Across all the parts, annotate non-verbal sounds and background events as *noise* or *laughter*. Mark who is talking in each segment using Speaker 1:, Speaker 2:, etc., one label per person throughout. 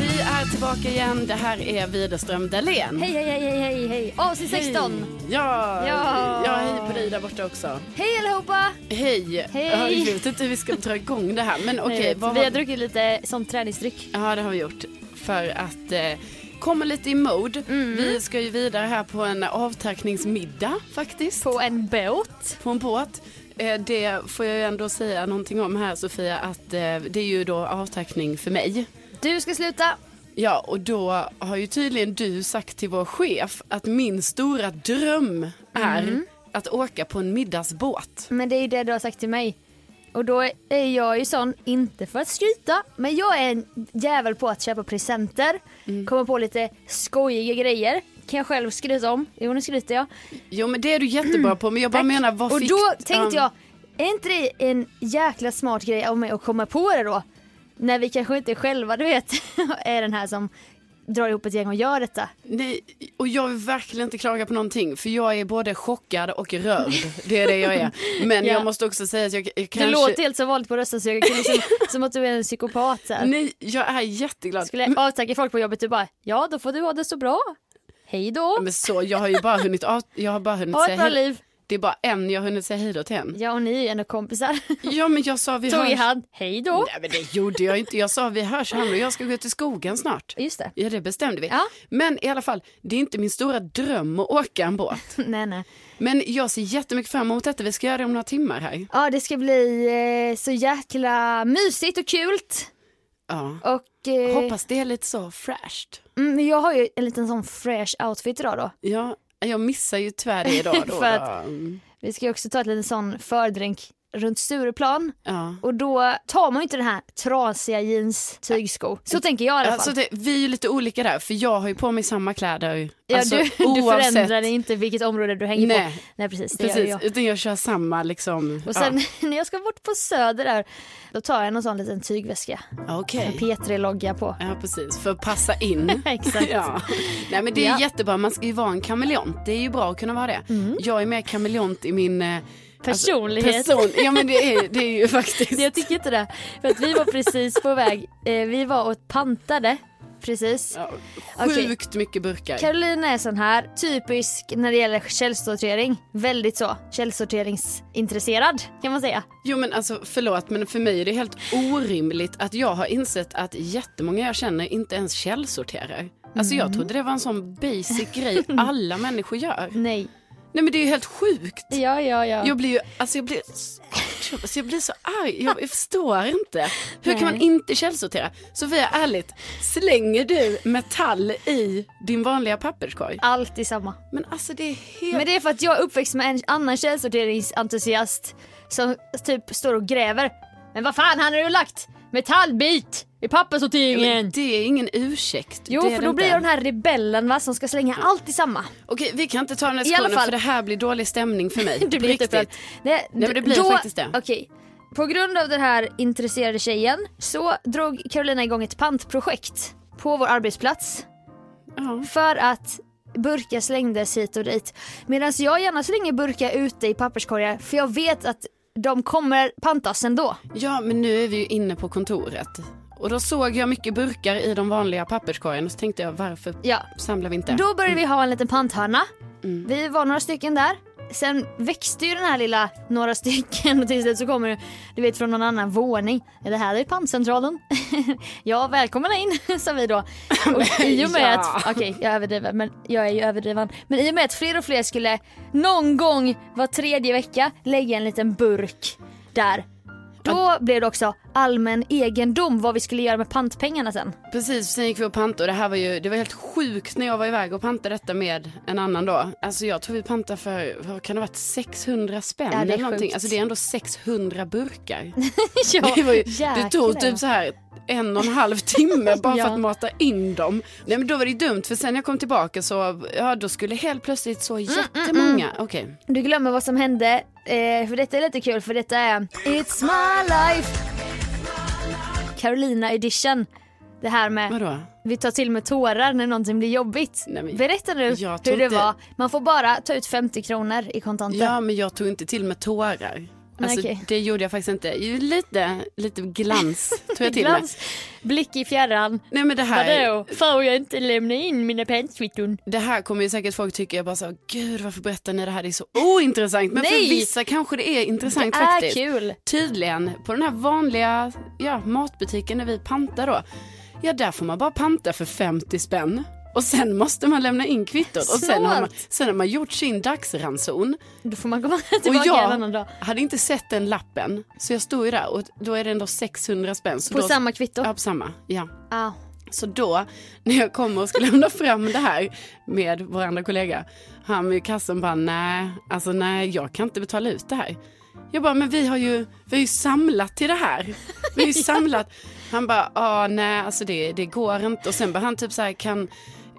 Speaker 1: Vi är tillbaka igen. Det här är Widerström Dahlén.
Speaker 2: Hej, hej, hej, hej, hej, hej. Avsnitt 16.
Speaker 1: Ja, ja.
Speaker 2: Ja.
Speaker 1: hej på dig där borta också.
Speaker 2: Hej allihopa!
Speaker 1: Hej.
Speaker 2: Hej.
Speaker 1: Ja, Jag vet inte hur vi ska dra igång det här. Men okej,
Speaker 2: Nej,
Speaker 1: vad
Speaker 2: vi
Speaker 1: har-
Speaker 2: har druckit lite som träningsdryck.
Speaker 1: Ja, det har vi gjort. För att eh, komma lite i mode.
Speaker 2: Mm.
Speaker 1: Vi ska ju vidare här på en avtackningsmiddag faktiskt.
Speaker 2: På en båt.
Speaker 1: på en båt. Eh, Det får jag ju ändå säga någonting om här Sofia att eh, det är ju då avtackning för mig.
Speaker 2: Du ska sluta.
Speaker 1: Ja, och då har ju tydligen du sagt till vår chef att min stora dröm är
Speaker 2: Mm.
Speaker 1: att åka på en middagsbåt.
Speaker 2: Men det är ju det du har sagt till mig. Och då är jag ju sån, inte för att skryta, men jag är en jävel på att köpa presenter. Komma på lite skojiga grejer. Kan jag själv skryta om. Jo, nu skryter jag.
Speaker 1: Jo, men det är du jättebra på, men jag bara menar vad
Speaker 2: Och
Speaker 1: fick...
Speaker 2: då tänkte
Speaker 1: Ja,
Speaker 2: jag, är inte det en jäkla smart grej av mig att komma på det då? När vi kanske inte själva, du vet, *laughs* är den här som drar ihop ett gäng och gör detta.
Speaker 1: Nej, och jag vill verkligen inte klaga på någonting, för jag är både chockad och rörd. Det är det jag är. Men
Speaker 2: *laughs* Ja.
Speaker 1: jag måste också säga att jag, jag kanske...
Speaker 2: Du låter helt så vanligt på rösten så jag kan liksom, *laughs* som att du är en psykopat så här.
Speaker 1: Nej, Mm. jag är jätteglad.
Speaker 2: Skulle jag avtacka folk på jobbet, du bara, ja då får du ha det så bra. Hej då.
Speaker 1: Men så, jag har ju bara hunnit, av, jag har bara hunnit
Speaker 2: Ha
Speaker 1: säga
Speaker 2: ett bra
Speaker 1: hej.
Speaker 2: liv.
Speaker 1: Det är bara en jag har hunnit säga hej då till än.
Speaker 2: Ja och ni är ändå kompisar.
Speaker 1: Ja, men jag sa *laughs* vi
Speaker 2: *laughs* Tog
Speaker 1: hörs.
Speaker 2: i hand, hej då.
Speaker 1: Nej, men det gjorde jag inte. Jag sa vi hörs Hanna och jag ska gå ut i skogen snart.
Speaker 2: Just det. *laughs*
Speaker 1: Ja, det bestämde vi.
Speaker 2: Ja.
Speaker 1: Men i alla fall, det är inte min stora dröm att åka en båt.
Speaker 2: Nej nej.
Speaker 1: Men jag ser jättemycket fram emot detta. Vi ska göra det om några timmar här.
Speaker 2: Ja det ska bli eh, så jäkla mysigt och kul.
Speaker 1: Ja.
Speaker 2: Och eh,
Speaker 1: Hoppas det är lite så fräscht.
Speaker 2: mm, jag har ju en liten sån fresh outfit idag då.
Speaker 1: Ja, jag missar ju tyvärr det *laughs* idag då.
Speaker 2: För att-
Speaker 1: då. Mm.
Speaker 2: Vi ska ju också ta ett litet sån fördrink runt Stureplan
Speaker 1: Ja.
Speaker 2: och då tar man ju inte den här trasiga jeans tygsko. Så tänker jag i alla fall.
Speaker 1: Alltså det, vi är ju lite olika där, för jag har ju på mig samma kläder.
Speaker 2: ja,
Speaker 1: alltså,
Speaker 2: du, du förändrar inte vilket område du hänger på.
Speaker 1: Nej.
Speaker 2: Nej precis, det gör
Speaker 1: Precis,
Speaker 2: jag.
Speaker 1: utan jag kör samma liksom.
Speaker 2: Och sen *laughs* när jag ska bort på Söder där, då tar jag någon sån liten tygväska.
Speaker 1: ja. Okej.
Speaker 2: En P3-logga på.
Speaker 1: Ja, precis. För att passa *laughs* in. *laughs*
Speaker 2: Exakt.
Speaker 1: Ja. alltså, Mm. Nej, men det är
Speaker 2: Ja.
Speaker 1: jättebra. Man ska ju vara en kameleont. Det är ju bra att kunna vara det. Jag är mer kameleont i min... eh, alltså,
Speaker 2: Personlighet.
Speaker 1: person. Ja, men det är, det är *laughs* ju faktiskt...
Speaker 2: Jag tycker inte det. För att vi var precis på väg, eh, vi var och pantade. Precis.
Speaker 1: Ja,
Speaker 2: Okej.
Speaker 1: sjukt mycket burkar.
Speaker 2: Carolina är sån här, typisk när det gäller källsortering. Väldigt så, källsorteringsintresserad kan man säga.
Speaker 1: Jo men alltså förlåt men för mig är det helt orimligt att jag har insett att jättemånga jag känner inte ens källsorterar. Alltså jag
Speaker 2: Mm.
Speaker 1: trodde det var en sån
Speaker 2: *laughs*
Speaker 1: basic grej alla människor gör.
Speaker 2: Nej.
Speaker 1: Nej men det är ju helt sjukt.
Speaker 2: Ja, ja, ja.
Speaker 1: Jag blir ju, alltså jag blir, alltså jag blir så arg, jag,
Speaker 2: *laughs*
Speaker 1: jag förstår inte. Hur kan man
Speaker 2: Nej.
Speaker 1: inte källsortera? Sofia, ärligt, slänger du metall i din vanliga papperskorg?
Speaker 2: Alltid samma.
Speaker 1: Men alltså det är helt...
Speaker 2: Men det är för att jag är uppväxt med en annan källsorteringsentusiast som typ står och gräver. Men vad fan, han har ju lagt metallbit i papperssorteringen.
Speaker 1: det är ingen ursäkt.
Speaker 2: Jo,
Speaker 1: det är
Speaker 2: för
Speaker 1: det
Speaker 2: då
Speaker 1: inte.
Speaker 2: blir jag den här rebellen va, som ska slänga allt i samma.
Speaker 1: Okej, vi kan inte ta den här
Speaker 2: I alla
Speaker 1: diskussionen
Speaker 2: fall.
Speaker 1: för det här blir dålig stämning för
Speaker 2: *laughs*
Speaker 1: mig.
Speaker 2: Du
Speaker 1: På
Speaker 2: blir
Speaker 1: riktigt.
Speaker 2: jätteupprörd. Nej,
Speaker 1: men det blir
Speaker 2: då,
Speaker 1: faktiskt det.
Speaker 2: Okej. På grund av den här intresserade tjejen så drog Carolina igång ett pantprojekt på vår arbetsplats
Speaker 1: Ja.
Speaker 2: för att burkar slängdes hit och dit. Medan jag gärna slänger burkar ute i papperskorgar för jag vet att de kommer pantas ändå.
Speaker 1: ja, men nu är vi ju inne på kontoret. Och då såg jag mycket burkar i de vanliga papperskorgen och så tänkte jag varför
Speaker 2: Ja.
Speaker 1: samlar vi inte?
Speaker 2: Då började vi ha en liten panthörna.
Speaker 1: Mm.
Speaker 2: Vi var några stycken där. Sen växte ju den här lilla några stycken och till slut så kommer det, du vet från någon annan våning. Det här är pantcentralen. *laughs* ja, välkomna in, *laughs*
Speaker 1: *laughs*
Speaker 2: sa vi då. Och i och med
Speaker 1: ja.
Speaker 2: att, *laughs* okej jag överdriver men jag är ju överdriven. Men i och med att fler och fler skulle någon gång var tredje vecka lägga en liten burk där. Då blev det också allmän egendom vad vi skulle göra med pantpengarna sen. *laughs*
Speaker 1: Precis, sen gick vi och pantade och det här var ju, det var helt sjukt när jag var iväg och pantade detta med en annan då. Alltså jag tror vi pantade för, vad kan det ha varit, 600 spänn
Speaker 2: Ja, det är
Speaker 1: eller någonting.
Speaker 2: sjukt.
Speaker 1: Alltså det är ändå 600 burkar.
Speaker 2: ja,
Speaker 1: Det, var ju, det
Speaker 2: jäklar.
Speaker 1: tog typ så här en och en halv timme bara
Speaker 2: *laughs* Ja.
Speaker 1: för att mata in dem. Nej men då var det ju dumt för sen när jag kom tillbaka så, ja då skulle helt plötsligt så
Speaker 2: Mm,
Speaker 1: jättemånga, okej.
Speaker 2: Du glömmer vad som hände, eh, för detta är lite kul för detta är It's my life Carolina edition. Det här med
Speaker 1: Vadå?
Speaker 2: vi tar till med tårar när någonting blir jobbigt.
Speaker 1: Nej, men-
Speaker 2: Berätta nu
Speaker 1: Jag tror
Speaker 2: hur det
Speaker 1: inte-
Speaker 2: var. Man får bara ta ut 50 kronor i kontanter.
Speaker 1: Ja men jag tog inte till med tårar. Alltså,
Speaker 2: okej.
Speaker 1: Det gjorde jag faktiskt inte. Ju Lite, lite glans tog
Speaker 2: *laughs*
Speaker 1: jag till med.
Speaker 2: Glans, blick i fjärran.
Speaker 1: Nej men det här.
Speaker 2: Vadå, får jag inte lämna in mina penskvitton?
Speaker 1: Det här kommer ju säkert folk tycka, jag bara så, gud varför berättar ni det här, det är så ointressant. Men
Speaker 2: Nej!
Speaker 1: för vissa kanske det är intressant
Speaker 2: Det är
Speaker 1: faktiskt.
Speaker 2: Ah, kul.
Speaker 1: Tydligen, på den här vanliga ja, matbutiken när vi pantar då, ja där får man bara panta för 50 spänn. Och sen måste man lämna in kvittot och sen har, man,
Speaker 2: Smart.
Speaker 1: sen har man gjort sin dagsranson.
Speaker 2: Då får man komma *laughs*
Speaker 1: Och
Speaker 2: tillbaka en annan dag.
Speaker 1: jag hade inte sett den lappen så jag stod ju där och då är det ändå 600 spänn. Så
Speaker 2: På
Speaker 1: då,
Speaker 2: samma kvitto?
Speaker 1: Ja, på samma. Ja.
Speaker 2: Ah.
Speaker 1: Så då, när jag kommer och ska *laughs* lämna fram det här med vår andra kollega, han i kassan bara nej, alltså nej, jag kan inte betala ut det här. Jag bara, men vi har ju, vi har ju samlat till det här. Vi har ju samlat. Han bara, ja nej, alltså det, det går inte. Och sen bara han typ så här kan,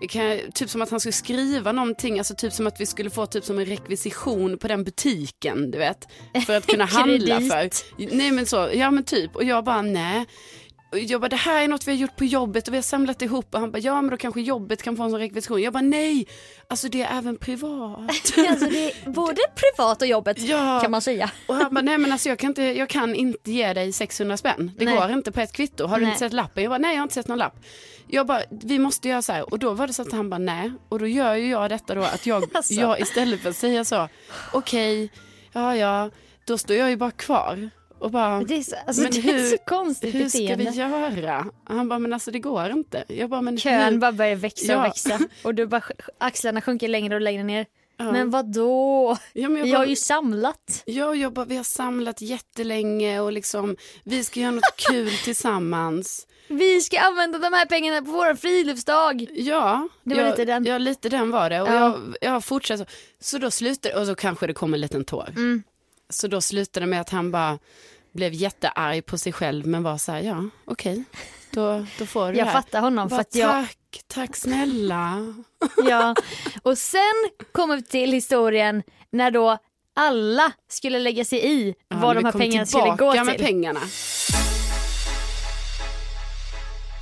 Speaker 1: kan, jag- typ som att han skulle skriva någonting, alltså typ som att vi skulle få typ som en rekvisition på den butiken, du vet. För att kunna handla
Speaker 2: Kredit.
Speaker 1: för. Nej men så, ja men typ. Och jag bara, nej. Och Jag bara, det här är något vi har gjort på jobbet och vi har samlat ihop och han bara, ja men då kanske jobbet kan få en sån rekvisition. Jag bara, nej, alltså det är även privat.
Speaker 2: Alltså det
Speaker 1: *laughs*
Speaker 2: är både privat och jobbet
Speaker 1: Ja.
Speaker 2: kan man säga.
Speaker 1: Och han bara, nej men alltså jag kan inte, jag kan inte ge dig 600 spänn. Det
Speaker 2: Nej.
Speaker 1: går inte på ett kvitto. Har du
Speaker 2: Nej.
Speaker 1: inte sett lappen? Jag bara, nej jag har inte sett någon lapp. Jag bara, vi måste göra så här. Och då var det så att han bara, nej. Och då gör ju jag detta då att jag,
Speaker 2: *laughs* Alltså.
Speaker 1: jag istället för att säga så, okej, ja ja, då står jag ju bara kvar. Och bara,
Speaker 2: Det är så, alltså,
Speaker 1: Men
Speaker 2: det är
Speaker 1: hur-
Speaker 2: så konstigt
Speaker 1: hur ska
Speaker 2: beteende.
Speaker 1: vi göra? Han bara, men alltså det går inte. Jag bara, men
Speaker 2: Kön
Speaker 1: hur?
Speaker 2: bara börjar växa och
Speaker 1: Ja.
Speaker 2: växa och du bara, axlarna sjunker längre och längre ner. Men vad då?
Speaker 1: Ja, men jag
Speaker 2: Vi
Speaker 1: bara-
Speaker 2: har ju samlat.
Speaker 1: Jag och jag bara, vi har samlat jättelänge och liksom, vi ska göra något
Speaker 2: *laughs*
Speaker 1: kul tillsammans.
Speaker 2: Vi ska använda de här pengarna på vår friluftsdag.
Speaker 1: Ja,
Speaker 2: Det var
Speaker 1: jag,
Speaker 2: lite den.
Speaker 1: ja, lite den var det. Och
Speaker 2: Ja.
Speaker 1: jag, jag fortsätter så. Så då slutar och så kanske det kom en liten tår.
Speaker 2: Mm.
Speaker 1: Så då slutade det med att han bara blev jättearg på sig själv men var så här, ja okej, då, då får du det
Speaker 2: Jag
Speaker 1: här.
Speaker 2: fattar honom för
Speaker 1: Bara,
Speaker 2: att jag,
Speaker 1: Tack, tack snälla.
Speaker 2: *laughs* ja. Och sen kommer vi till historien när då alla skulle lägga sig i
Speaker 1: när
Speaker 2: vad de
Speaker 1: vi
Speaker 2: här
Speaker 1: kom
Speaker 2: pengarna skulle gå
Speaker 1: tillbaka med
Speaker 2: till.
Speaker 1: pengarna.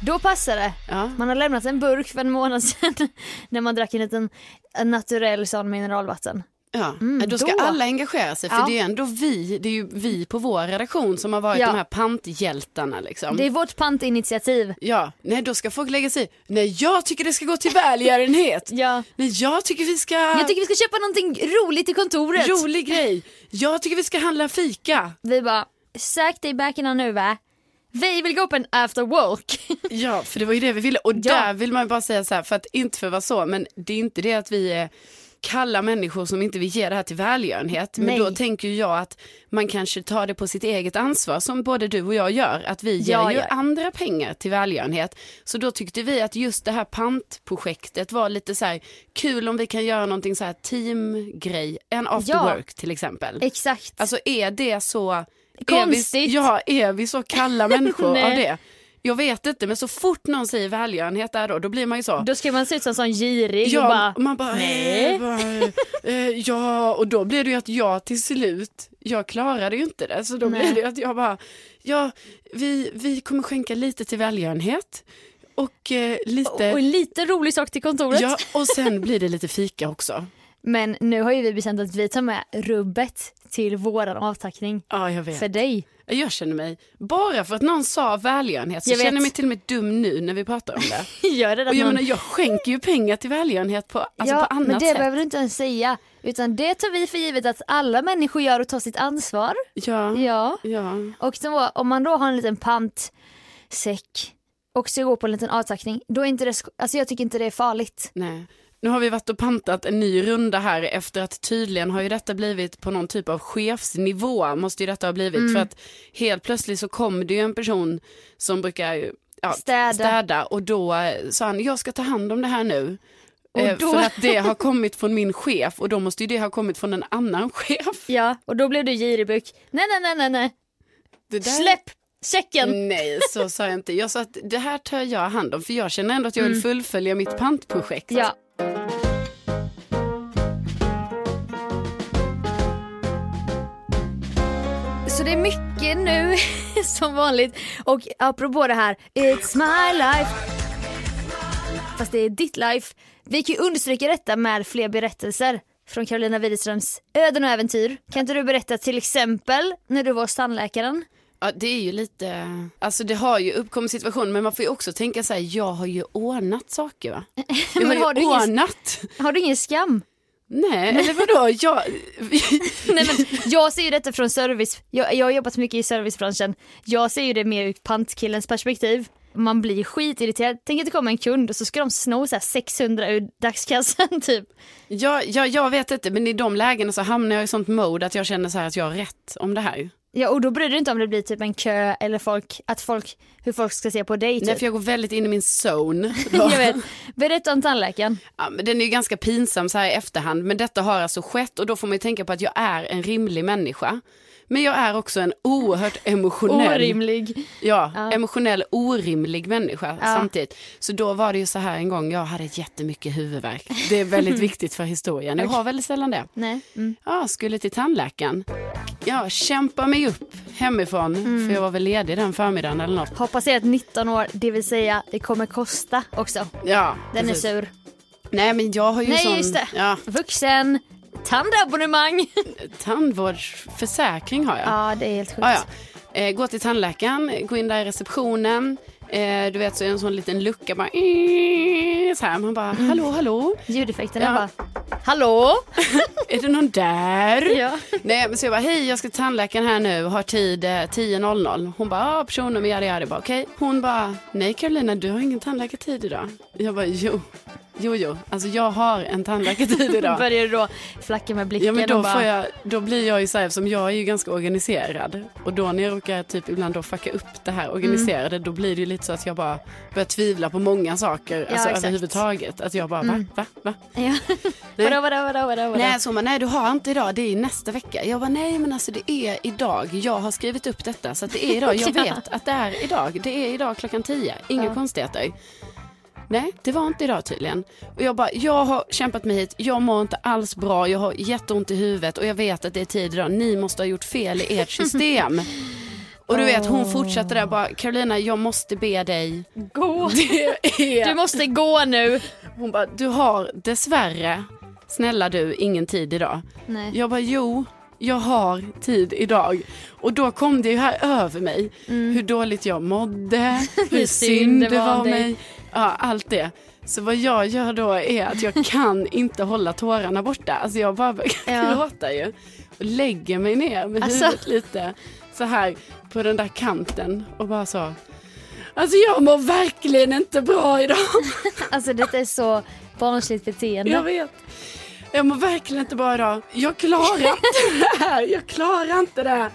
Speaker 2: Då passar det.
Speaker 1: Ja.
Speaker 2: Man har lämnat en burk för en månad sedan *laughs* när man drack en liten en naturell sån mineralvatten.
Speaker 1: Ja, då ska
Speaker 2: Mm, då.
Speaker 1: alla engagera sig för
Speaker 2: Ja.
Speaker 1: det är ju ändå vi, det är ju vi på vår redaktion som har varit
Speaker 2: Ja.
Speaker 1: de här panthjältarna liksom.
Speaker 2: Det är vårt pantinitiativ.
Speaker 1: Ja, nej då ska folk lägga sig i. Nej jag tycker det ska gå till välgörenhet.
Speaker 2: *laughs* Ja.
Speaker 1: Nej jag tycker vi ska,
Speaker 2: Jag tycker vi ska köpa någonting roligt i kontoret.
Speaker 1: rolig grej. Jag tycker vi ska handla fika.
Speaker 2: Vi bara, sök dig i böckerna nu va? Vi vill gå på en after
Speaker 1: *laughs*
Speaker 2: work.
Speaker 1: Ja, för det var ju det vi ville. Och
Speaker 2: Ja.
Speaker 1: där vill man ju bara säga så här, för att inte för att vara så, men det är inte det att vi är kalla människor som inte vill ge det här till välgörenhet. Men
Speaker 2: Nej.
Speaker 1: då tänker ju jag att man kanske tar det på sitt eget ansvar som både du och jag gör. Att vi ger
Speaker 2: Ja,
Speaker 1: ju
Speaker 2: ja.
Speaker 1: andra pengar till välgörenhet. Så då tyckte vi att just det här pantprojektet var lite så här kul om vi kan göra någonting så här teamgrej. En after
Speaker 2: Ja.
Speaker 1: work till exempel.
Speaker 2: Exakt.
Speaker 1: Alltså är det så... Är
Speaker 2: Konstigt.
Speaker 1: vi, ja, är vi så kalla *laughs* människor av
Speaker 2: Nej.
Speaker 1: det? Jag vet inte, men så fort någon säger välgörenhet där då, då blir man ju så.
Speaker 2: då ska man se ut som en sån girig
Speaker 1: ja,
Speaker 2: och bara,
Speaker 1: man bara,
Speaker 2: nej.
Speaker 1: eh, bara eh, ja, och då blir det ju att jag till slut, jag klarade ju inte det, så då
Speaker 2: Nej.
Speaker 1: blir det ju att jag bara, ja, vi, vi kommer skänka lite till välgörenhet och eh, lite,
Speaker 2: Och en lite rolig sak till kontoret.
Speaker 1: ja, och sen blir det lite fika också.
Speaker 2: Men nu har ju vi bestämt att vi tar med rubbet till våran avtackning.
Speaker 1: Ja, jag vet.
Speaker 2: För dig.
Speaker 1: Jag känner mig, bara för att någon sa välgörenhet så
Speaker 2: Jag
Speaker 1: jag
Speaker 2: vet.
Speaker 1: känner jag mig till och med dum nu när vi pratar om
Speaker 2: *laughs*
Speaker 1: det.
Speaker 2: Gör det
Speaker 1: Och *laughs* jag menar, jag skänker ju pengar till välgörenhet på, alltså på annat
Speaker 2: men det
Speaker 1: sätt.
Speaker 2: behöver du inte ens säga. Utan det tar vi för givet att alla människor gör och tar sitt ansvar.
Speaker 1: Ja, ja.
Speaker 2: Ja. Och då, om man då har en liten pantsäck och ska gå på en liten avtackning, då är inte det, sk- alltså jag tycker inte det är farligt.
Speaker 1: nej. Nu har vi varit och pantat en ny runda här efter att tydligen har ju detta blivit på någon typ av chefsnivå måste ju detta ha blivit
Speaker 2: Mm.
Speaker 1: för att helt plötsligt så kom det ju en person som brukar ju, ja,
Speaker 2: Städa.
Speaker 1: städa och då eh, sa han jag ska ta hand om det här nu.
Speaker 2: Och
Speaker 1: Eh,
Speaker 2: då-
Speaker 1: För att det har kommit från min chef och då måste ju det ha kommit från en annan chef.
Speaker 2: Ja, och då blev du giribuk. Nej, nej, nej, nej, nej.
Speaker 1: Det där-
Speaker 2: Släpp säcken.
Speaker 1: Nej, så sa jag inte. Jag sa att det här tar jag hand om för jag känner ändå att jag vill fullfölja mitt pantprojekt.
Speaker 2: Mm. Ja. Så det är mycket nu *laughs* som vanligt och apropå det här, it's my life. Fast det är ditt life. Vi kan ju understryka detta med fler berättelser från Carolina Widerströms öden och äventyr. Kan inte du berätta till exempel när du var hos tandläkaren?
Speaker 1: Ja, det är ju lite, alltså det har ju uppkommit situation men man får ju också tänka så här, jag har ju ordnat saker
Speaker 2: *laughs*
Speaker 1: va? Jag
Speaker 2: Men
Speaker 1: har ju
Speaker 2: har du ingen-
Speaker 1: ordnat.
Speaker 2: Har du ingen skam?
Speaker 1: Nej, eller vadå? Jag... *laughs*
Speaker 2: *laughs* Nej, men jag ser ju detta från service, jag, jag har jobbat mycket i servicebranschen, jag ser ju det mer ur pantkillens perspektiv. Man blir skitirriterad, tänk att det kommer en kund och så ska de sno så här 600 ur dagskassan *laughs* typ.
Speaker 1: Jag, jag, jag vet inte, men i de lägena så hamnar jag i sånt mode att jag känner så här att jag har rätt om det här.
Speaker 2: Ja och då bryr du dig inte om det blir typ en kö eller folk, att folk, hur folk ska se på dig typ.
Speaker 1: Nej, för jag går väldigt in i min zone. då.
Speaker 2: *laughs* jag... vet. Berätta
Speaker 1: *laughs*
Speaker 2: om tandläkaren.
Speaker 1: Ja, men den är ju ganska pinsam så här i efterhand, men detta har alltså skett och då får man ju tänka på att jag är en rimlig människa. Men jag är också en oerhört emotionell,
Speaker 2: Orimlig.
Speaker 1: Ja, emotionell orimlig människa
Speaker 2: Ja.
Speaker 1: samtidigt. Så då var det ju så här en gång, jag hade jättemycket huvudvärk. Det är
Speaker 2: *laughs*
Speaker 1: väldigt viktigt för historien, jag har väldigt sällan det.
Speaker 2: Nej. Mm.
Speaker 1: Ja, skulle till tandläkaren. Ja, kämpa mig upp hemifrån,
Speaker 2: Mm.
Speaker 1: för jag var väl ledig den förmiddagen eller något.
Speaker 2: Har passerat 19 år, det vill säga det kommer kosta också.
Speaker 1: Ja,
Speaker 2: Den
Speaker 1: precis.
Speaker 2: är sur.
Speaker 1: Nej, men jag har ju
Speaker 2: Nej
Speaker 1: sån...
Speaker 2: just det.
Speaker 1: Ja,
Speaker 2: Vuxen. Tandabonnemang. *laughs*
Speaker 1: tandvårdsförsäkring har jag.
Speaker 2: ja det är helt sjukt.
Speaker 1: Ah, ja. eh, gå till tandläkaren, gå in där i receptionen. Eh, du vet så är det en sån liten lucka bara. Så här, man bara
Speaker 2: Mm.
Speaker 1: hallå hallå.
Speaker 2: Ljudeffekterna
Speaker 1: Ja.
Speaker 2: bara, *laughs* hallå?
Speaker 1: Är det någon där?
Speaker 2: Ja.
Speaker 1: Nej men så jag bara hej jag ska till tandläkaren här nu har tid eh, 10.00. Hon bara ja ah, personnummer yadi yadi. Jag bara, Okej. Hon bara nej Carolina du har ingen tandläkartid idag. Jag bara jo. Jo jo. Alltså jag har en tandläkartid
Speaker 2: Då
Speaker 1: idag.
Speaker 2: *laughs* börjar du då flacka med blicken
Speaker 1: Ja men då,
Speaker 2: och bara,
Speaker 1: får jag, då blir jag ju så här, eftersom jag är ju ganska organiserad och då när jag råkar typ ibland då fucka upp det
Speaker 2: Mm.
Speaker 1: här organiserade då blir det ju lite så att jag bara börjar tvivla på många saker alltså
Speaker 2: exakt. Mm.
Speaker 1: överhuvudtaget. Att jag bara va, va, va? *laughs*
Speaker 2: Ja. vadå, vadå, vadå, vadå, vadå?
Speaker 1: Nej, så man, nej du har inte idag, det är nästa vecka. Jag bara nej men alltså det är idag, jag har skrivit upp detta så att det är idag, jag vet att det är idag, det är idag klockan 10, inga konstigheter. Nej, det var inte idag tydligen. Och jag bara, jag har kämpat mig hit, jag mår inte alls bra, jag har jätteont i huvudet och jag vet att det är tid idag, ni måste ha gjort fel i ert system. Och du vet hon fortsatte där bara, Carolina jag måste be dig.
Speaker 2: Gå.
Speaker 1: *laughs* Det är
Speaker 2: Du måste gå nu.
Speaker 1: hon bara, du har dessvärre, snälla du, ingen tid idag.
Speaker 2: Nej.
Speaker 1: Jag bara, jo, jag har tid idag. Och då kom det ju här över mig,
Speaker 2: Mm. *laughs*
Speaker 1: hur dåligt jag mådde, hur synd det var om mig. Ja, allt det. Så vad jag gör då är att
Speaker 2: *laughs*
Speaker 1: jag kan inte hålla tårarna borta. Alltså jag bara börjar
Speaker 2: Ja.
Speaker 1: gråta ju. Och lägger mig ner med
Speaker 2: Alltså.
Speaker 1: huvudet lite så här på den där kanten och bara så. Alltså jag mår verkligen inte bra idag.
Speaker 2: Alltså detta är så barnsligt beteende.
Speaker 1: Jag vet. Jag mår verkligen inte bra idag. Jag klarar inte det här. Jag klarar inte det här.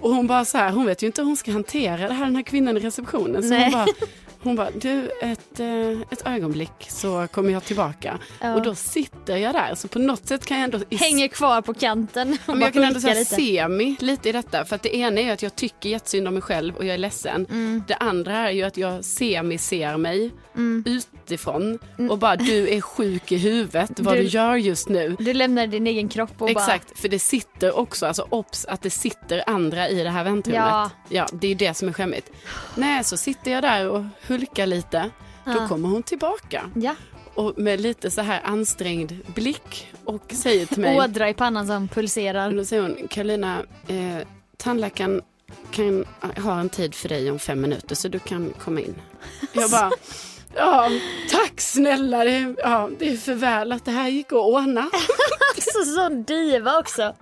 Speaker 1: Och hon bara så här, hon vet ju inte hur hon ska hantera det här, den här kvinnan i receptionen. Så
Speaker 2: Nej.
Speaker 1: hon bara, hon bara, du ett, eh, ett ögonblick så kommer jag tillbaka.
Speaker 2: Ja.
Speaker 1: Och då sitter jag där, så på något sätt kan jag ändå... i-
Speaker 2: Hänger kvar på kanten.
Speaker 1: Ja,
Speaker 2: och
Speaker 1: men
Speaker 2: bara
Speaker 1: jag kan ändå
Speaker 2: hulkar
Speaker 1: säga se mig lite i detta. För att det ena är ju att jag tycker jättesynd om mig själv och jag är ledsen.
Speaker 2: Mm.
Speaker 1: Det andra är ju att jag ser mig, ser mig utifrån och bara du är sjuk i huvudet vad
Speaker 2: Mm. Du-
Speaker 1: du gör just nu.
Speaker 2: Du lämnar din egen kropp och
Speaker 1: Exakt, för det sitter också, alltså obs att det sitter andra i det här väntrummet.
Speaker 2: Ja.
Speaker 1: Ja. det är ju det som är skämmigt. Nej, så sitter jag där och hulkar lite. Då kommer hon tillbaka
Speaker 2: bara... Ja.
Speaker 1: och med lite så här ansträngd blick och säger till mig.
Speaker 2: Ådra i pannan som pulserar.
Speaker 1: *laughs* Och Då säger hon, Karolina, eh, tandläkaren kan ha en tid för dig om fem minuter så du kan komma in. Jag
Speaker 2: *laughs*
Speaker 1: bara, ja, tack snälla, det, ja, det är för väl att det här gick att ordna.
Speaker 2: Alltså sån diva också.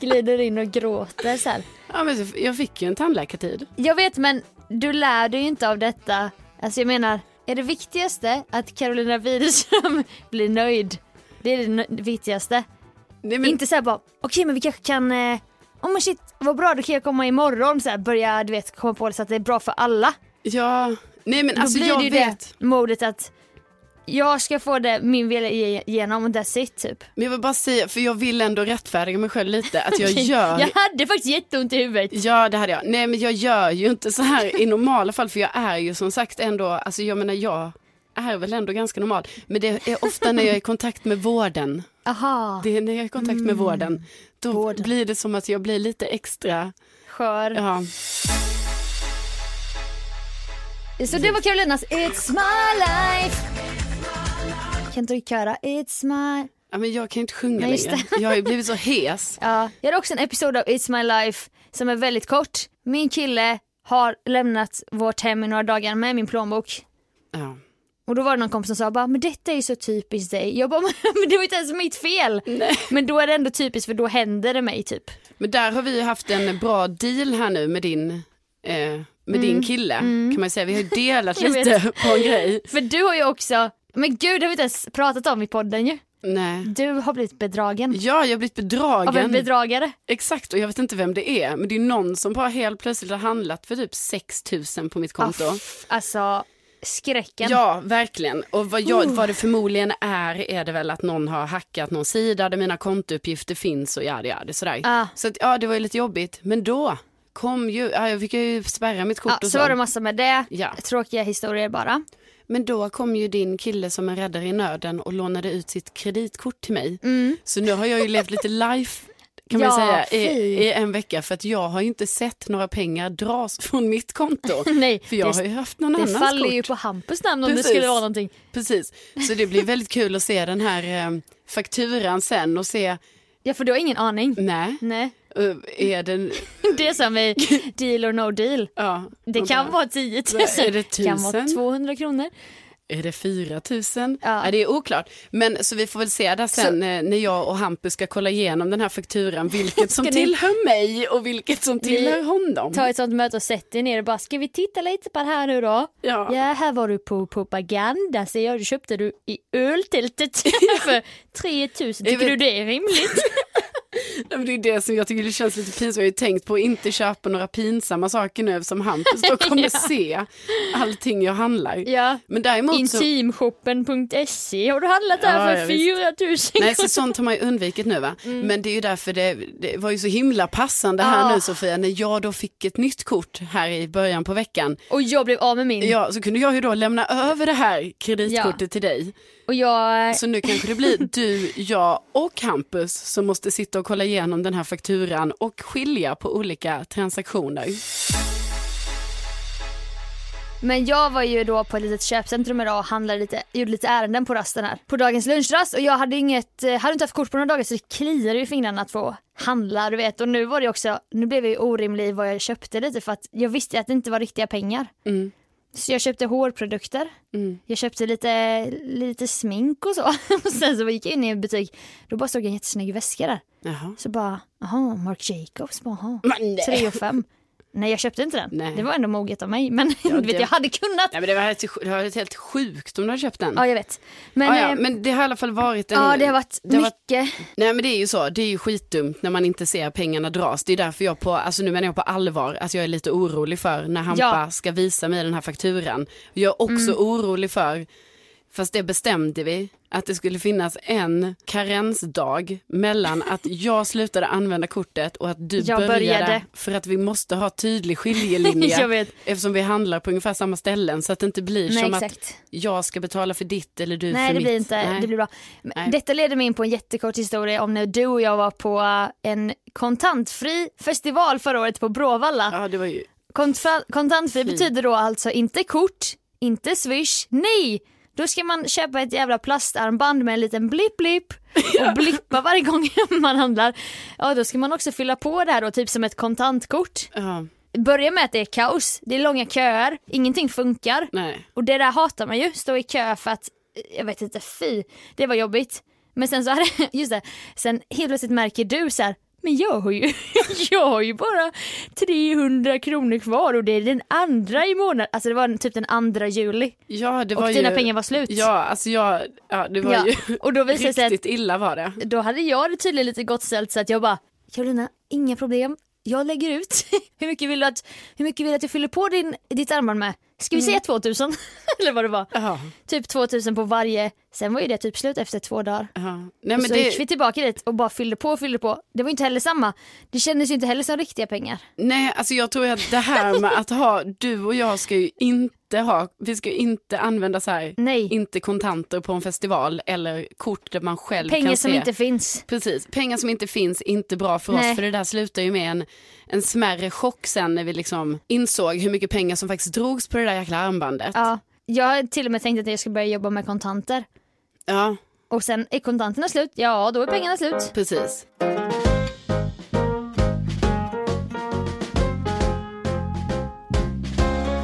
Speaker 2: Glider in och gråter så här.
Speaker 1: Ja, men så- jag fick ju en tandläkartid.
Speaker 2: Jag vet men du lär dig ju inte av detta. Alltså jag menar, är det viktigaste att Carolina Widerström *laughs* blir nöjd? Det är det nö- viktigaste.
Speaker 1: Nej, men,
Speaker 2: Inte såhär bara, okej men vi kanske kan, eh, oh men shit vad bra då kan jag komma imorgon så här, börja du vet komma på det så att det är bra för alla.
Speaker 1: ja, nej men
Speaker 2: Då
Speaker 1: alltså
Speaker 2: blir det
Speaker 1: jag
Speaker 2: ju
Speaker 1: vet.
Speaker 2: det modet att jag ska få det min vilja ige- igenom och that's it typ.
Speaker 1: Men jag vill bara säga, för jag vill ändå rättfärdiga mig själv lite, att jag
Speaker 2: *laughs*
Speaker 1: gör
Speaker 2: Jag hade faktiskt jätteont i huvudet.
Speaker 1: Ja det hade jag. Nej men jag gör ju inte så här i normala fall för jag är ju som sagt ändå, alltså jag menar jag är väl ändå ganska normal. Men det är ofta när jag är i kontakt med vården.
Speaker 2: Aha,
Speaker 1: Det är när jag är i kontakt med vården. Då
Speaker 2: Mm. Vården.
Speaker 1: blir det som att jag blir lite extra,
Speaker 2: skör.
Speaker 1: ja.
Speaker 2: Så det var Carolinas It's my life. Kan inte du köra It's my...
Speaker 1: ja men jag kan inte sjunga
Speaker 2: Nej, just
Speaker 1: längre. Jag har ju blivit så hes.
Speaker 2: Ja, jag hade också en episod av It's my life som är väldigt kort. Min kille har lämnat vårt hem i några dagar med min plånbok.
Speaker 1: Ja.
Speaker 2: Och då var det någon kompis som sa bara, men detta är ju så typiskt dig. Jag bara, *laughs* men det var inte ens mitt fel. Men då är det ändå typiskt för då händer det mig typ.
Speaker 1: Men där har vi ju haft en bra deal här nu med din, eh, med din kille. Kan man ju säga, vi har ju delat
Speaker 2: Mm. *laughs* Jag
Speaker 1: lite på en grej.
Speaker 2: För du har ju också, men gud det har vi inte ens pratat om i podden ju.
Speaker 1: Nej.
Speaker 2: Du har blivit bedragen.
Speaker 1: Ja, jag har blivit bedragen.
Speaker 2: Av en bedragare.
Speaker 1: Exakt, och jag vet inte vem det är, men det är någon som bara helt plötsligt har handlat för typ 6 000 på mitt konto.
Speaker 2: Aff, alltså skräcken.
Speaker 1: Ja, verkligen. Och vad, jag,
Speaker 2: Oh.
Speaker 1: vad det förmodligen är, är det väl att någon har hackat någon sida där mina kontouppgifter finns och ja, det är det sådär.
Speaker 2: Ah.
Speaker 1: Så att, ja, det var ju lite jobbigt. Men då kom ju, ja, jag fick ju spärra mitt kort
Speaker 2: Ja,
Speaker 1: och
Speaker 2: så
Speaker 1: så.
Speaker 2: var det massa med det.
Speaker 1: Ja.
Speaker 2: Tråkiga historier bara.
Speaker 1: Men då kom ju din kille som en räddare i nöden och lånade ut sitt kreditkort till mig. Så nu har jag ju levt lite life kan man
Speaker 2: Mm. Ja,
Speaker 1: säga, i,
Speaker 2: fy.
Speaker 1: i en vecka för att jag har ju inte sett några pengar dras *laughs* från mitt konto.
Speaker 2: *laughs* *laughs* Nej,
Speaker 1: för jag
Speaker 2: det-
Speaker 1: har ju haft någon
Speaker 2: Det
Speaker 1: annans
Speaker 2: faller
Speaker 1: kort.
Speaker 2: ju på Hampus namn om det
Speaker 1: Precis.
Speaker 2: skulle vara någonting.
Speaker 1: Precis, så det blir väldigt kul att se den här eh, fakturan sen och se,
Speaker 2: Ja för du har ingen aning.
Speaker 1: nej,
Speaker 2: Nej. *laughs*
Speaker 1: eh, är den,
Speaker 2: Det är som i deal or no deal.
Speaker 1: ja,
Speaker 2: Det
Speaker 1: och
Speaker 2: kan
Speaker 1: bara,
Speaker 2: vara 10 000.
Speaker 1: Är det
Speaker 2: kan vara
Speaker 1: 1000?
Speaker 2: 200 kronor.
Speaker 1: Är det 4000?
Speaker 2: Ja.
Speaker 1: Ja. det är oklart. Men så vi får väl se där sen eh, när jag och Hampus ska kolla igenom den här
Speaker 2: *laughs*
Speaker 1: fakturan, vilket som
Speaker 2: Ska ni-
Speaker 1: tillhör mig och vilket som tillhör honom.
Speaker 2: Ta ett sånt möte och sätt dig ner och bara ska vi titta lite på det här nu då?
Speaker 1: Ja.
Speaker 2: Ja här var du på propaganda ser jag. Du köpte du i öltältet
Speaker 1: *laughs*
Speaker 2: för 3000. Tycker
Speaker 1: vet-
Speaker 2: du det är rimligt?
Speaker 1: Nej, men *laughs* Det är det som jag tycker det känns lite pinsamt. Jag har ju tänkt på att inte köpa några pinsamma saker nu som Hampus
Speaker 2: *laughs*
Speaker 1: då kommer se allting jag handlar.
Speaker 2: Ja.
Speaker 1: Men däremot så...
Speaker 2: Intimshoppen.se E. har du handlat
Speaker 1: Ja,
Speaker 2: där
Speaker 1: ja,
Speaker 2: för 4000
Speaker 1: Nej, så sånt har man ju undvikit nu
Speaker 2: *laughs*
Speaker 1: va.
Speaker 2: Mm.
Speaker 1: Men det är ju därför det, det var ju så himla passande här
Speaker 2: Ah.
Speaker 1: nu Sofia, när jag då fick ett nytt kort här i början på veckan.
Speaker 2: Och jag blev av med min.
Speaker 1: Ja, så kunde jag ju då lämna över det här kreditkortet
Speaker 2: Ja.
Speaker 1: till dig.
Speaker 2: Och jag...
Speaker 1: Så nu kanske det blir du, jag och Hampus som måste sitta och kolla igenom den här fakturan och skilja på olika transaktioner.
Speaker 2: Men jag var ju då på ett litet köpcentrum idag och handlade lite, gjorde lite ärenden på rasten här. På dagens lunchrast och jag hade inget, eh, hade inte haft kort på några dagar så det kliade ju i fingrarna att få handla du vet. Och nu
Speaker 1: Mm.
Speaker 2: var det också, nu blev jag ju orimlig i vad jag köpte lite för att jag visste ju att det inte var riktiga pengar. Så jag köpte hårprodukter. Jag köpte lite, lite smink och så. *laughs* Och sen så gick jag in i en butik. Då bara stod en jättesnygg väska där.
Speaker 1: Jaha.
Speaker 2: Så bara, jaha, Marc Jacobs, bara, aha.
Speaker 1: Men nej.
Speaker 2: 3 och 5. Nej jag köpte inte den.
Speaker 1: Nej.
Speaker 2: Det var ändå moget av mig. Men *laughs* du
Speaker 1: det-
Speaker 2: vet, jag hade kunnat.
Speaker 1: Nej, men det var helt, det var helt sjukt om du hade köpt den.
Speaker 2: Ja jag vet. Men,
Speaker 1: ja, ja,
Speaker 2: eh,
Speaker 1: men det har i alla fall varit en...
Speaker 2: ja det har varit
Speaker 1: det har varit-
Speaker 2: mycket. *laughs*
Speaker 1: Nej men det är ju så, det är ju skitdumt när man inte ser pengarna dras. Det är därför jag på, alltså nu menar jag på allvar, att jag är lite orolig för när Hampa
Speaker 2: Ja. Mm.
Speaker 1: ska visa mig den här fakturan. Jag är också orolig för, fast det bestämde vi, att det skulle finnas en karensdag
Speaker 2: *laughs*
Speaker 1: mellan att jag slutade använda kortet och att du
Speaker 2: Jag
Speaker 1: började,
Speaker 2: började.
Speaker 1: För att vi måste ha
Speaker 2: *laughs*
Speaker 1: tydlig skiljelinje.
Speaker 2: Jag vet.
Speaker 1: Eftersom vi handlar på ungefär samma ställen så att det inte blir
Speaker 2: Nej,
Speaker 1: som att
Speaker 2: exakt.
Speaker 1: jag ska betala för ditt eller du
Speaker 2: Nej
Speaker 1: för
Speaker 2: det
Speaker 1: mitt.
Speaker 2: blir inte,
Speaker 1: Nej.
Speaker 2: det blir bra. Men Detta leder mig in på en jättekort historia om när du och jag var på eh, en kontantfri festival förra året på Bråvalla.
Speaker 1: Ja det var ju,
Speaker 2: Kontfa- kontantfri betyder då alltså inte kort, inte swish, nej! Då ska man köpa ett jävla plastarmband med en liten blipp blipp och blippa varje gång *laughs* man handlar. Ja, då ska man också fylla på det här då, typ som ett kontantkort.
Speaker 1: ja,
Speaker 2: Börja med att det är kaos, det är långa köer, ingenting funkar.
Speaker 1: nej.
Speaker 2: Och det där hatar man ju, stå i kö för att, jag vet inte, fy, det var jobbigt. Men sen så hade, *laughs* just det, sen helt plötsligt märker du så här, men jag har ju, *laughs* jag har ju bara 300 kronor kvar och det är den andra i månaden, alltså det var den- typ den andra juli
Speaker 1: Ja, det
Speaker 2: och
Speaker 1: var
Speaker 2: dina
Speaker 1: ju...
Speaker 2: pengar var slut.
Speaker 1: Ja, alltså jag, ja, det var
Speaker 2: Ja,
Speaker 1: ju
Speaker 2: och då *laughs* visade det sig att-
Speaker 1: riktigt illa var det.
Speaker 2: Då hade jag det tydligen lite gott ställt så att jag bara, Carolina, inga problem, jag lägger ut. *laughs* hur mycket vill du att, hur mycket vill du att jag fyller på din, ditt armband med? Ska vi säga 2000? *laughs* Eller vad det var.
Speaker 1: Mm. Ja,
Speaker 2: typ 2000 på varje. Sen var ju det typ slut efter två dagar.
Speaker 1: ja. Nej, men
Speaker 2: så gick vi
Speaker 1: det,
Speaker 2: tillbaka dit och bara fyllde på och fyllde på. Det var ju inte heller samma. Det kändes ju inte heller som riktiga pengar.
Speaker 1: nej, alltså jag tror att det här med att ha, du och jag ska ju inte ha, vi ska ju inte använda så här,
Speaker 2: Nej.
Speaker 1: inte kontanter på en festival eller kort där man själv
Speaker 2: pengar
Speaker 1: kan
Speaker 2: som
Speaker 1: se.
Speaker 2: inte finns.
Speaker 1: Precis, pengar som inte finns, inte bra för oss
Speaker 2: Nej.
Speaker 1: för det där slutar ju med en, en smärre chock sen när vi liksom insåg hur mycket pengar som faktiskt drogs på det där jäkla armbandet.
Speaker 2: Ja. Jag har till och med tänkt att jag ska börja jobba med kontanter.
Speaker 1: ja
Speaker 2: Och sen är kontanterna slut, ja då är pengarna slut.
Speaker 1: precis.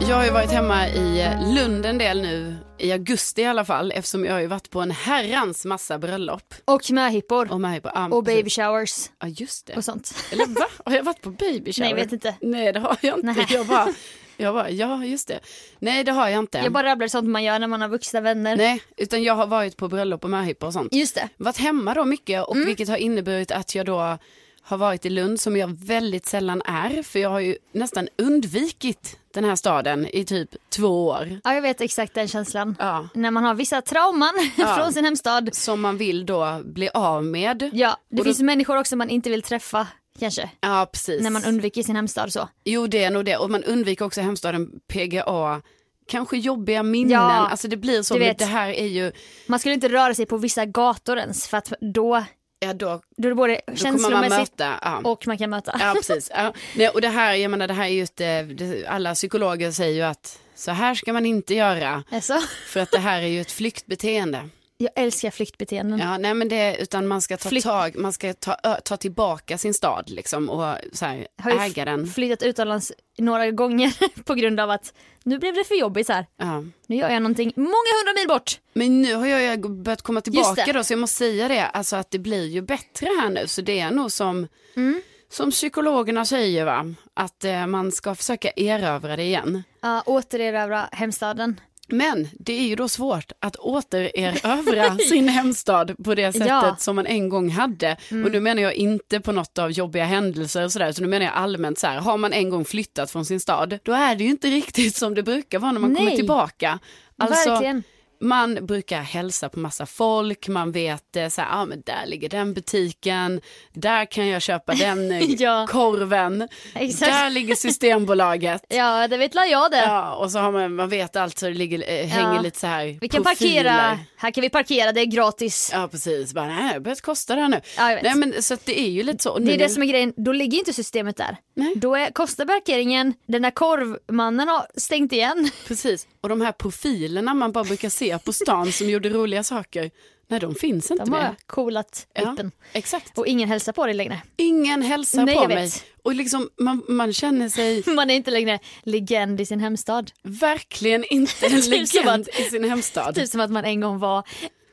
Speaker 1: Jag har ju varit hemma i Lund en del nu, i augusti i alla fall, eftersom jag har ju varit på en herrans massa bröllop.
Speaker 2: Och möhippor.
Speaker 1: Och, med på, ah,
Speaker 2: Och
Speaker 1: precis.
Speaker 2: baby showers
Speaker 1: Ja, just det.
Speaker 2: och sånt.
Speaker 1: Eller va? Har jag varit på baby shower?
Speaker 2: Nej, vet inte.
Speaker 1: Nej, det har jag inte.
Speaker 2: Nej.
Speaker 1: Jag bara, jag bara, ja, just det. Nej, det har jag inte.
Speaker 2: Jag bara rabblar sånt man gör när man har vuxna vänner.
Speaker 1: Nej, utan jag har varit på bröllop och möhippa och sånt.
Speaker 2: Just det.
Speaker 1: varit hemma då mycket
Speaker 2: Mm.
Speaker 1: och vilket har inneburit att jag då har varit i Lund som jag väldigt sällan är för jag har ju nästan undvikit den här staden i typ två år.
Speaker 2: Ja jag vet exakt den känslan.
Speaker 1: Ja.
Speaker 2: När man har vissa trauman *laughs* från sin hemstad.
Speaker 1: Som man vill då bli av med.
Speaker 2: Ja,
Speaker 1: Och
Speaker 2: det
Speaker 1: då-
Speaker 2: finns människor också man inte vill träffa kanske.
Speaker 1: Ja, precis.
Speaker 2: När man undviker sin hemstad så.
Speaker 1: Jo, det är nog det. Och man undviker också hemstaden PGA. Kanske jobbiga minnen.
Speaker 2: Ja,
Speaker 1: alltså det blir så.
Speaker 2: du
Speaker 1: Men
Speaker 2: vet.
Speaker 1: det här är ju,
Speaker 2: Man skulle inte röra sig på vissa gator ens för att då,
Speaker 1: ja då,
Speaker 2: då är det både
Speaker 1: då kommer man
Speaker 2: känslomässigt
Speaker 1: möta. Ja.
Speaker 2: och man kan möta.
Speaker 1: Ja, precis. Ja. Nej, och det här, jag menar, det här är ju ett, eh, det, alla psykologer säger ju att så här ska man inte göra.
Speaker 2: *laughs* Alltså,
Speaker 1: För att det här är ju ett flyktbeteende.
Speaker 2: jag älskar flyktbeteenden.
Speaker 1: Ja, nej men det, utan man ska ta
Speaker 2: Mm. Flykt-
Speaker 1: tag, man ska ta, ö, ta tillbaka sin stad liksom och så här,
Speaker 2: Jag har ju
Speaker 1: äga den.
Speaker 2: f- flyttat utomlands några gånger *laughs* på grund av att nu blev det för jobbigt här.
Speaker 1: Ja.
Speaker 2: Nu gör jag någonting många hundra mil bort.
Speaker 1: Men nu har jag ju börjat komma tillbaka
Speaker 2: det.
Speaker 1: då, så jag måste säga det, alltså att det blir ju bättre här nu, så det är nog som,
Speaker 2: Mm.
Speaker 1: som psykologerna säger va, att eh, man ska försöka erövra det igen.
Speaker 2: Ja, återerövra hemstaden.
Speaker 1: Men det är ju då svårt att
Speaker 2: *laughs*
Speaker 1: återerövra sin hemstad på det sättet
Speaker 2: Ja. Mm.
Speaker 1: som man en gång hade. Och nu menar jag inte på något av jobbiga händelser och sådär, så nu menar jag allmänt så här, har man en gång flyttat från sin stad, då är det ju inte riktigt som det brukar vara när man kommer
Speaker 2: Nej.
Speaker 1: tillbaka. Alltså,
Speaker 2: Verkligen.
Speaker 1: Man brukar hälsa på massa folk, man vet eh, så här, ah, men där ligger den butiken, där kan jag köpa den eh,
Speaker 2: *laughs* Ja.
Speaker 1: korven,
Speaker 2: Exakt.
Speaker 1: där ligger
Speaker 2: *laughs*
Speaker 1: Systembolaget.
Speaker 2: Ja, det vet la jag det.
Speaker 1: Ja, och så har man, man vet allt så det ligger, eh, hänger
Speaker 2: Ja.
Speaker 1: lite så här
Speaker 2: vi kan
Speaker 1: profiler.
Speaker 2: parkera, här kan vi parkera, det är gratis.
Speaker 1: Ja, precis. Bara, nej, det har börjat kosta det här nu.
Speaker 2: Ja, jag vet.
Speaker 1: Nej, men så att det är ju lite så. Och
Speaker 2: Det
Speaker 1: nu-
Speaker 2: är det som är grejen, då ligger inte systemet där.
Speaker 1: Nej.
Speaker 2: Då är, kostar parkeringen, den där korvmannen har stängt igen.
Speaker 1: Precis, och de här profilerna man bara brukar se på stan som gjorde roliga saker. Nej, de finns inte
Speaker 2: De
Speaker 1: mer.
Speaker 2: har coolat
Speaker 1: Ja.
Speaker 2: upp en.
Speaker 1: Exakt.
Speaker 2: Och ingen hälsar på dig längre. *laughs*
Speaker 1: Ingen hälsar
Speaker 2: Nej,
Speaker 1: på
Speaker 2: jag vet.
Speaker 1: mig. Och liksom, man, man känner sig
Speaker 2: Man är inte längre legend i sin hemstad.
Speaker 1: verkligen
Speaker 2: *laughs*
Speaker 1: inte en
Speaker 2: Typ som
Speaker 1: legend
Speaker 2: att-
Speaker 1: i sin hemstad.
Speaker 2: Typ som att man en gång var,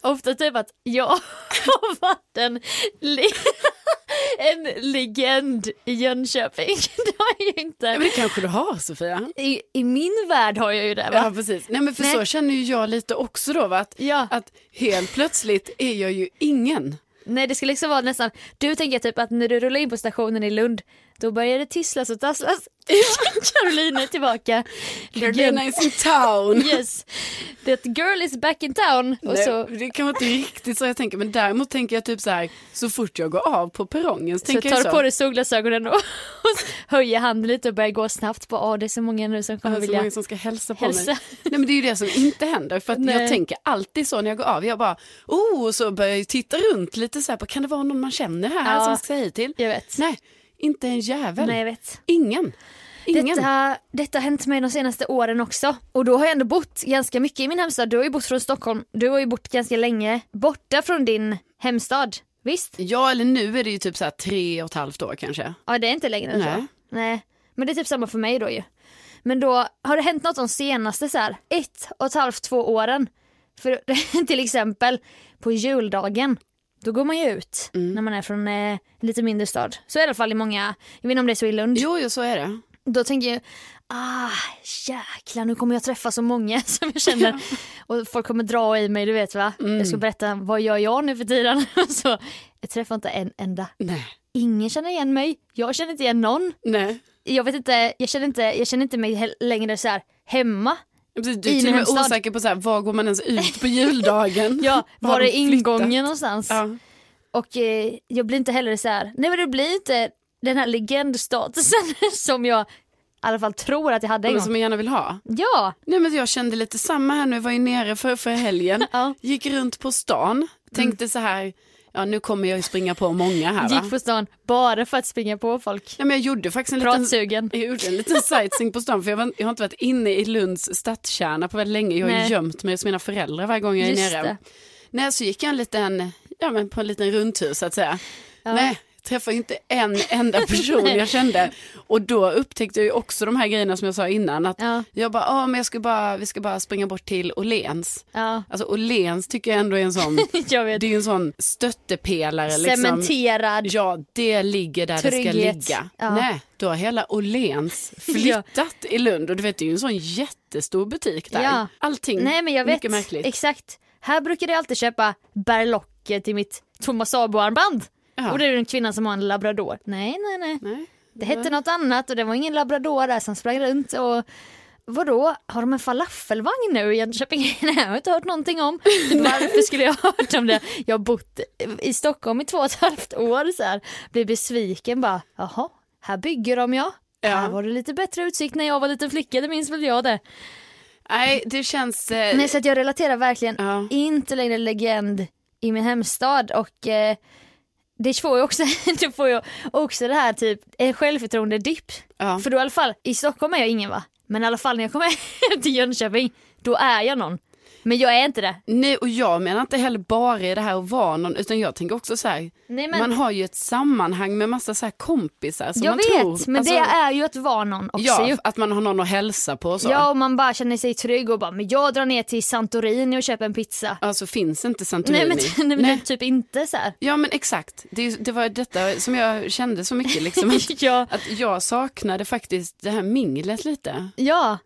Speaker 2: ofta typ att jag har *laughs* varit en, le- *laughs* en legend i Jönköping. *laughs* Det har jag ju
Speaker 1: Ja,
Speaker 2: inte.
Speaker 1: Men det kanske du har Sofia.
Speaker 2: I, I min värld har jag ju det
Speaker 1: Ja
Speaker 2: va?
Speaker 1: precis. Nej men för
Speaker 2: Nej.
Speaker 1: så känner ju jag lite också då va? Att,
Speaker 2: Ja.
Speaker 1: att helt plötsligt är jag ju ingen.
Speaker 2: Nej det skulle liksom vara nästan, du tänker typ att när du rullar in på stationen i Lund då börjar det tisslas
Speaker 1: *laughs*
Speaker 2: och tasslas. Caroline är tillbaka. Legend.
Speaker 1: Carolina is in *laughs* town.
Speaker 2: Yes, that girl is back in town. Och
Speaker 1: Nej,
Speaker 2: så,
Speaker 1: Det kan vara inte riktigt så jag tänker men däremot tänker jag typ så här så fort jag går av på perrongen så,
Speaker 2: så
Speaker 1: tänker
Speaker 2: tar
Speaker 1: jag
Speaker 2: du
Speaker 1: så.
Speaker 2: på dig solglasögonen och *laughs* höjer handen lite och börjar gå snabbt. På, oh, det är så många nu som
Speaker 1: Det
Speaker 2: kommer
Speaker 1: är så
Speaker 2: vilja.
Speaker 1: många som ska hälsa på
Speaker 2: hälsa.
Speaker 1: mig. *laughs* Nej men det är ju det som inte händer för att jag
Speaker 2: Nej.
Speaker 1: tänker alltid så när jag går av. Jag bara oh och så börjar jag titta runt lite så här på kan det vara någon man känner här
Speaker 2: Ja.
Speaker 1: som ska hit till?
Speaker 2: Jag vet.
Speaker 1: Nej, inte en jävel.
Speaker 2: Nej, jag vet.
Speaker 1: Ingen. Ingen.
Speaker 2: Detta, detta har hänt mig de senaste åren också. Och då har jag ändå bott ganska mycket i min hemstad. Du har ju bott från Stockholm, du har ju bott ganska länge borta från din hemstad. Visst?
Speaker 1: Ja eller nu är det ju typ så här tre och ett halvt år kanske.
Speaker 2: Ja, det är inte längre än
Speaker 1: Nej.
Speaker 2: så. Nej. Men det är typ samma för mig då ju. Men då har det hänt något de senaste så här, ett och ett halvt, två åren. För *laughs* till exempel på juldagen, då går man ju ut
Speaker 1: Mm.
Speaker 2: när man är från eh, lite mindre stad. Så är det i alla fall i många, jag vet inte om det är så i Lund.
Speaker 1: Jo, jo så är det.
Speaker 2: Då tänker jag, ah jäklar nu kommer jag träffa så många *laughs* som jag känner. Och folk kommer dra i mig, du vet va. Jag
Speaker 1: Mm.
Speaker 2: ska berätta, vad gör jag nu för tiden? *laughs* så, jag träffar inte en enda.
Speaker 1: Nej.
Speaker 2: Ingen känner igen mig, jag känner inte igen någon
Speaker 1: Nej.
Speaker 2: jag vet inte, jag känner inte, jag känner inte mig he- längre så här hemma.
Speaker 1: Precis, du
Speaker 2: I
Speaker 1: är
Speaker 2: min
Speaker 1: till och med
Speaker 2: hemstad.
Speaker 1: osäker på så här, var går man ens ut på juldagen?
Speaker 2: *laughs*
Speaker 1: *laughs*
Speaker 2: Ja,
Speaker 1: har
Speaker 2: var är
Speaker 1: de flyttat?
Speaker 2: ingången någonstans?
Speaker 1: Ja.
Speaker 2: Och eh, jag blir inte heller så här, nej men det blir inte den här legendstatusen *laughs* som jag i alla fall tror att jag hade en
Speaker 1: men
Speaker 2: gång.
Speaker 1: Som jag gärna vill ha.
Speaker 2: Ja,
Speaker 1: Nej, men jag kände lite samma här nu, jag var ju nere för, för helgen,
Speaker 2: *laughs* Ja. Mm.
Speaker 1: gick runt på stan, tänkte så här, ja nu kommer jag ju springa på många här va?
Speaker 2: gick på stan bara för att springa på folk.
Speaker 1: Nej, men jag gjorde faktiskt en liten
Speaker 2: Pratsugen.
Speaker 1: Jag gjorde en liten sightseeing på stan för jag, var, jag har inte varit inne i Lunds stadskärna på väldigt länge. Jag har ju
Speaker 2: Nej.
Speaker 1: gömt mig hos mina föräldrar varje gång jag är
Speaker 2: Just
Speaker 1: nere.
Speaker 2: det.
Speaker 1: Nej, så gick jag en liten, ja, men på en liten rundtur så att säga. Nej, träffade inte
Speaker 2: *laughs*
Speaker 1: en enda person jag kände. Och då upptäckte jag ju också de här grejerna som jag sa innan. Att
Speaker 2: Ja.
Speaker 1: Jag bara, ah, men jag ska bara, vi ska bara springa bort till Åhléns.
Speaker 2: Ja, *laughs*
Speaker 1: Alltså Åhléns tycker jag ändå är en sån,
Speaker 2: jag vet.
Speaker 1: det är ju en sån stöttepelare. Liksom.
Speaker 2: Cementerad.
Speaker 1: Ja, det ligger där det ska
Speaker 2: Trygghet.
Speaker 1: ligga.
Speaker 2: Ja.
Speaker 1: Nej, då har hela
Speaker 2: *laughs*
Speaker 1: Åhléns flyttat i Lund och du vet det är ju en sån jättestor butik där.
Speaker 2: Ja.
Speaker 1: Allting,
Speaker 2: Nej men jag vet,
Speaker 1: mycket märkligt.
Speaker 2: exakt. Här brukar jag alltid köpa berlocker till mitt Thomas Abo-armband.
Speaker 1: Ja.
Speaker 2: Och det är en kvinna som har en labrador. Nej, nej, nej.
Speaker 1: Nej.
Speaker 2: Det hette något annat och det var ingen labrador där som sprang runt och vadå, har de en falafelvagn nu i Jönköping? *laughs* Nej, jag har inte hört någonting om. Typ, Varför skulle jag ha hört om det? Jag har bott i Stockholm i två och ett halvt år så här. Blir besviken bara, jaha, här bygger de ja. Här var det lite bättre utsikt när jag var liten flicka, det minns väl jag det.
Speaker 1: Nej, det känns... Eh,
Speaker 2: Nej, så att jag relaterar verkligen
Speaker 1: Ja.
Speaker 2: inte längre legend i min hemstad och eh, det får ju också, *laughs* det får ju också det här typ en självförtroende-dipp.
Speaker 1: Ja.
Speaker 2: För då i alla fall, i Stockholm är jag ingen va? Men i alla fall när jag kommer *laughs* hem till Jönköping, då är jag någon. Men jag är inte det.
Speaker 1: Nej, och jag menar inte heller bara i det här att vara någon, utan jag tänker också så här,
Speaker 2: Nej, men-
Speaker 1: man har ju ett sammanhang med massa så här kompisar som
Speaker 2: jag
Speaker 1: man
Speaker 2: vet,
Speaker 1: tror.
Speaker 2: men
Speaker 1: Alltså,
Speaker 2: det är ju att vara någon också
Speaker 1: Ja, alltså.
Speaker 2: ju.
Speaker 1: att man har någon att hälsa på och så.
Speaker 2: Ja, och man bara känner sig trygg och bara, men jag drar ner till Santorini och köper en pizza.
Speaker 1: Alltså finns inte Santorini.
Speaker 2: Nej men, *laughs* nej, men typ inte så här.
Speaker 1: Ja men exakt, det, är ju- det var detta som jag kände så mycket. Liksom, att,
Speaker 2: *laughs* Ja.
Speaker 1: att jag saknade faktiskt det här minglet lite.
Speaker 2: Ja,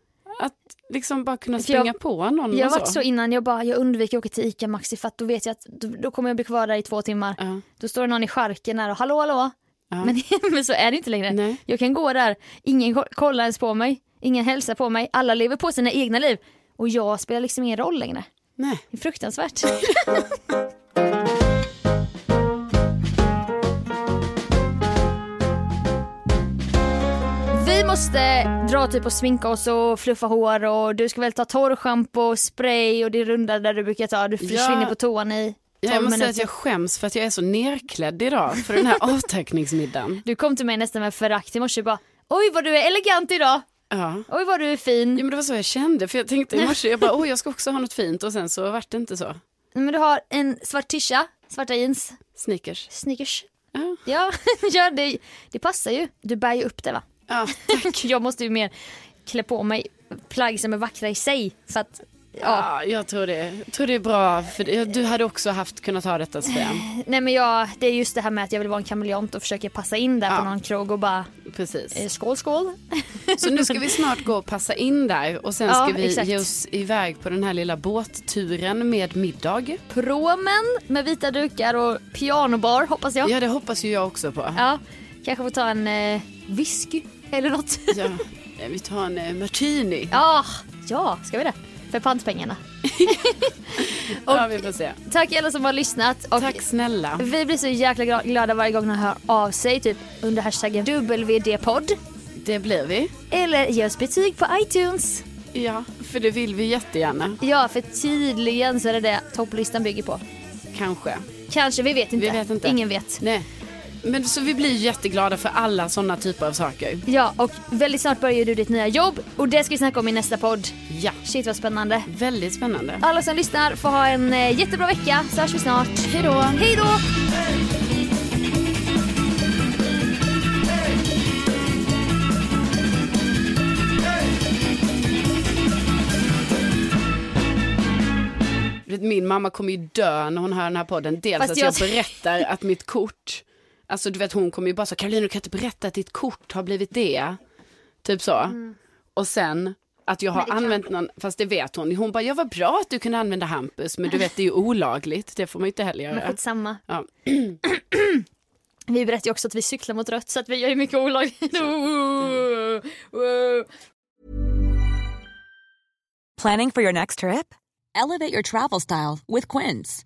Speaker 1: Att liksom bara kunna
Speaker 2: För jag-
Speaker 1: springa på någon
Speaker 2: Jag
Speaker 1: Mm, och
Speaker 2: har varit så innan, jag bara jag undviker att åka till ICA Maxi för att då vet jag att då, då kommer jag bli kvar där i två timmar.
Speaker 1: Ja.
Speaker 2: Då står det någon i charken där och hallå hallå. Men, *laughs* men så är det inte längre.
Speaker 1: Nej.
Speaker 2: Jag kan gå där, ingen ko- kollar ens på mig, ingen hälsar på mig, alla lever på sina egna liv. Och jag spelar liksom ingen roll längre.
Speaker 1: Nej.
Speaker 2: Det är fruktansvärt. Vi måste dra typ och sminka oss och fluffa hår och du ska väl ta torrschampo, spray och det runda där du brukar ta. Du försvinner på toan i 12
Speaker 1: Ja, jag måste säga
Speaker 2: minuter.
Speaker 1: att jag skäms för att jag är så nerklädd idag för den
Speaker 2: *laughs*
Speaker 1: här avtackningsmiddagen.
Speaker 2: Du kom till mig nästan med förakt i morse och bara oj vad du är elegant idag,
Speaker 1: Ja.
Speaker 2: oj vad du är fin.
Speaker 1: ja men det var så jag kände för jag tänkte i morse, jag bara åh jag ska också ha något fint och sen så vart det inte så.
Speaker 2: Men du har en svart tisha, svarta jeans,
Speaker 1: Sneakers.
Speaker 2: sneakers.
Speaker 1: Ja.
Speaker 2: Ja, *laughs* ja det, det passar ju. Du bär ju upp det va?
Speaker 1: Ja.
Speaker 2: *laughs* Jag måste ju mer klä på mig plagg som är vackra i sig. Så att, ja.
Speaker 1: ja, jag tror det. tror det är bra. För det- du hade också haft kunnat ha detta Sofia.
Speaker 2: Nej men jag, det är just det här med att jag vill vara en kameleont och försöka passa in där
Speaker 1: Ja.
Speaker 2: på någon krog och bara eh,
Speaker 1: Precis.
Speaker 2: skål skål.
Speaker 1: Så nu ska vi snart gå och passa in där och sen
Speaker 2: Ja,
Speaker 1: ska vi
Speaker 2: exakt.
Speaker 1: ge oss iväg på den här lilla båtturen med middag.
Speaker 2: Promen med vita dukar och pianobar hoppas jag.
Speaker 1: Ja, det hoppas ju jag också på.
Speaker 2: Ja, kanske få ta en eh, whisky eller något. *laughs* Ja.
Speaker 1: Ja. Vi tar en eh, martini.
Speaker 2: ja, ska vi det? För pantpengarna.
Speaker 1: Ja, vi får se.
Speaker 2: Tack alla som har lyssnat. Och
Speaker 1: Tack snälla.
Speaker 2: Vi blir så jäkla gra- glada varje gång ni hör av sig, typ under hashtaggen WD-podd.
Speaker 1: Det blir vi.
Speaker 2: Eller ge oss betyg på iTunes.
Speaker 1: Ja, för det vill vi jättegärna.
Speaker 2: Ja, för tydligen så är det det topplistan bygger på.
Speaker 1: Kanske.
Speaker 2: Kanske, vi vet inte.
Speaker 1: Vi vet inte.
Speaker 2: Ingen vet.
Speaker 1: Nej. Men så vi blir jätteglada för alla sådana typer av saker.
Speaker 2: Ja, och väldigt snart börjar du ditt nya jobb och det ska vi snacka om i nästa podd.
Speaker 1: Ja,
Speaker 2: Shit vad spännande.
Speaker 1: väldigt spännande.
Speaker 2: Alla som lyssnar får ha en eh, jättebra vecka så hörs vi snart.
Speaker 1: Hej då!
Speaker 2: Hej då!
Speaker 1: Du vet, Min mamma kommer ju dö när hon hör den här podden. Dels
Speaker 2: Fast
Speaker 1: att jag
Speaker 2: jag-
Speaker 1: berättar att mitt kort, alltså du vet hon kommer ju bara så, Caroline du kan inte berätta att ditt kort har blivit det. Typ så.
Speaker 2: Mm.
Speaker 1: Och sen att jag har använt någon, fast det vet hon, hon bara, jag var bra att du kunde använda Hampus, men du vet det är ju olagligt, det får man ju inte heller
Speaker 2: Men
Speaker 1: göra.
Speaker 2: skitsamma.
Speaker 1: Ja.
Speaker 2: *clears throat* Vi berättar ju också att vi cyklar mot rött så att vi gör ju mycket olagligt. *laughs*
Speaker 3: Planning for your next trip? Elevate your travel style with Quince.